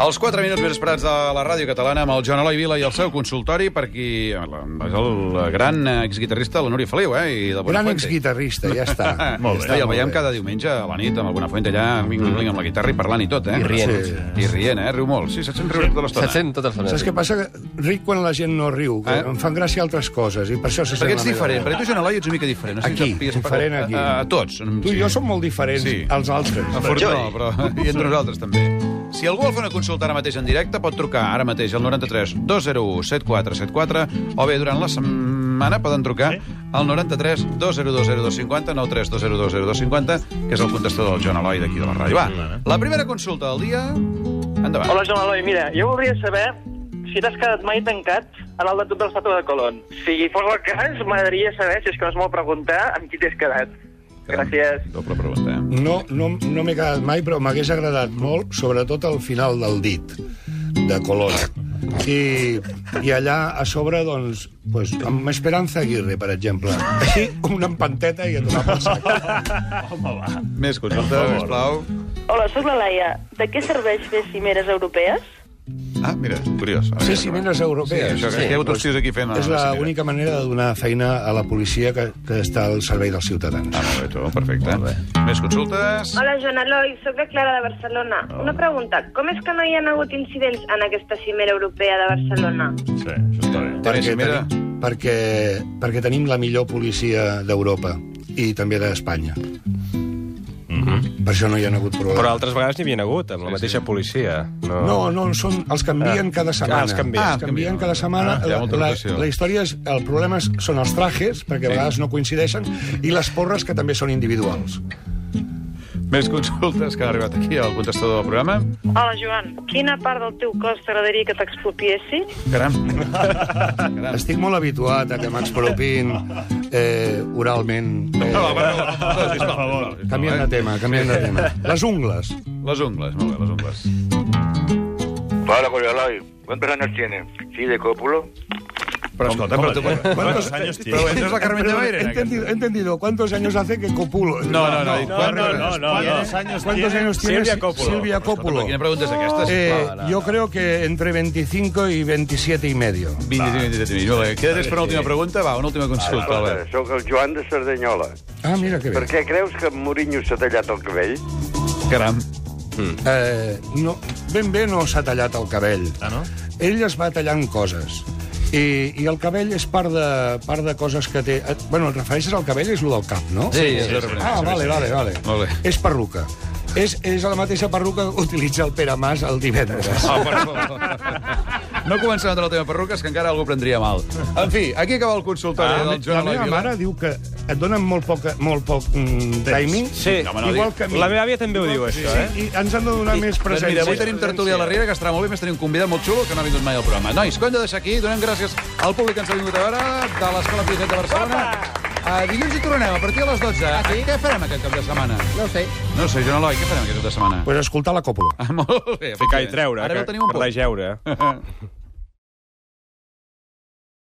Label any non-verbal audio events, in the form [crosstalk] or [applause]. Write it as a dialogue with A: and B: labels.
A: Els 4 minuts més esperats de la ràdio catalana amb el Joan Eloi Vila i el seu consultori per qui... la- És el gran exguitarrista, la Núria Feliu, eh? I de
B: Gran
A: Buenafuente. Ah,
B: exguitarrista, ja està.
A: [laughs] Molt
B: Ja
A: bé. I el
B: està, molt
A: veiem
B: bé. Mm-hmm.
A: cada diumenge a la nit amb el Buenafuente allà, bling, bling, bling, amb la guitarra i parlant i tot, eh?
C: I rient.
A: Sí. I rient, eh? Riu molt. Sí, se't sent riure tota l'estona.
C: Se't sent tota l'estona.
B: Saps què passa? Que Ric quan la gent no riu, que
A: Eh?
B: em fan gràcia altres coses, i per això se sent
A: Perquè ets
B: la meva
A: diferent,
B: veu.
A: perquè tu, Joan Eloi, ets una mica diferent. No sé si
B: Aquí,
A: t'ho pilles per-
B: diferent aquí.
A: A, a tots.
B: Tu i jo som molt diferents
A: Sí.
B: als altres.
A: A Fortó, però... I entre nosaltres, també. Si algú vol fer una consulta ara mateix en directe, pot trucar ara mateix al 93 201 7474 o bé durant la setmana poden trucar al 93 202 0250 93 202 0250 que és el contestador del Joan Eloi d'aquí de la ràdio. Va, la primera consulta del dia... Endavant.
D: Hola, Joan Eloi. Mira, jo voldria saber si t'has quedat mai tancat en el detut de l'estàtua de Colón. Si fos el cas, m'agradaria saber, si és que no es vol preguntar, amb qui t'has quedat. Gràcies.
A: Doble pregunta, eh?
B: No, no, no m'he quedat mai, però m'hagués agradat molt, sobretot al final del dit, de Colón. I, i allà a sobre, doncs, pues, amb Esperanza Aguirre, per exemple. Així, una empanteta i a
A: [laughs]
B: tomar pel sac.
A: Més consulta, sisplau.
E: Hola, sóc la Laia. De què serveix fer cimeres europees?
A: Ah, mira, curiós. Ara
B: Sí,
A: ja
B: cimeres
A: Sí,
B: europees.
A: això, que
C: Sí.
A: hi ha hagut uns tios aquí fent...
B: És
A: cimera.
B: l'única manera de donar feina a la policia que, que està al servei dels ciutadans.
A: Ah, molt bé, tu, perfecte. Més consultes?
F: Hola, Joan Eloi, sóc la Clara de Barcelona. Una pregunta, com és que no hi ha hagut incidents en aquesta cimera europea de Barcelona?
G: Sí, això està bé.
A: Té més cimera?
B: tenim, perquè, perquè tenim la millor policia d'Europa i també d'Espanya. Mm -hmm. Per això no hi ha hagut problema.
C: Mhm. Però altres vegades n'hi havia hagut, amb la mateixa policia. No,
B: No, no, són, els canvien
C: Ah.
B: cada setmana.
C: Ah, els canvien.
B: els canvien cada setmana.
A: Ah, hi ha molta
B: la,
A: rotació.
B: la història és... El problema és, són els trajes, perquè a vegades no coincideixen, i les porres, que també són individuals.
A: Més consultes que han arribat aquí al contestador del programa.
F: Hola, Joan, quina part del teu cos t'agradaria que t'expropiessin?
A: Caram.
B: Ah. Estic molt habituat a que m'expropin eh, oralment. Eh,
A: [laughs] No, va, no, no, sisplau, sisplau, sisplau,
B: canviem de
A: eh?
B: tema, canviem de tema. Les ungles.
A: Les ungles, molt bé, les ungles.
H: Hola, Julio Eloy. ¿Cuántos años tiene? Sí, de cópulo.
A: Però escolta, però tu...
G: ¿Cuántos años tiene?
A: Però entre Pues la Carmen de Baire,
B: He
A: en aquest...
B: entendido, he entendido. ¿Cuántos años hace que copulo?
A: No, no, no.
G: No, no, no, no.
B: ¿Cuántos años ¿Cuántos años tiene
C: Silvia Coppola?
B: Silvia
A: Però
B: Coppola?
A: quina pregunta és aquesta?
B: Eh,
A: sisplau?
B: yo creo que entre 25 y 27 y medio.
A: 25, 27 minuts. Molt bé, Queda temps per una última pregunta? Va, una última consulta, Albert.
H: Sóc el Joan de Cerdanyola.
B: Ah, mira que
H: Per
B: bé.
H: què creus que en Mourinho s'ha tallat el cabell?
A: Caram.
B: Eh, no, ben bé no s'ha tallat el cabell.
G: Ah, no?
B: Ell es va tallant coses. I, i el cabell és part de, part de coses que té... Eh, Bueno, et refereixes al cabell és el del cap, no?
A: Sí, és la
B: Ah,
A: referència.
B: vale, vale, vale.
A: Molt bé.
B: És perruca. És, és la mateixa perruca que utilitza el Pere Mas el divendres.
A: Oh, per favor. No comencem amb la teva perruca, és que encara algú prendria mal. En fi, aquí acaba el consultori del
B: la
A: Joan Eloi
B: meva
A: Vila.
B: mare diu que et donen molt poc, molt poc mm, timing.
C: Sí,
A: home, no
B: igual
A: digui-
B: que a mi.
C: la meva àvia també ho diu, això, eh?
B: I ens han de donar més
A: Doncs
B: presència.
A: mira, avui tenim tertúlia a la Riera, que estarà molt bé, més tenim un convidat molt xulo que no ha vingut mai al programa. Nois, que ho hem de deixar aquí. Donem gràcies al públic que ens ha vingut a veure, de l'Escola Piset de Barcelona. Uh, dilluns hi tornem, a partir de les 12. Aquí. Què farem aquest cap de setmana?
I: Ah, No ho sé.
A: No sé, Joan Eloi, què farem aquest cap de setmana?
B: Pues escoltar la còpula.
A: Ah, [laughs] molt bé.
C: Ficar i treure,
A: Ara
C: que,
A: no tenim un
C: per la
A: punt.
C: jeure.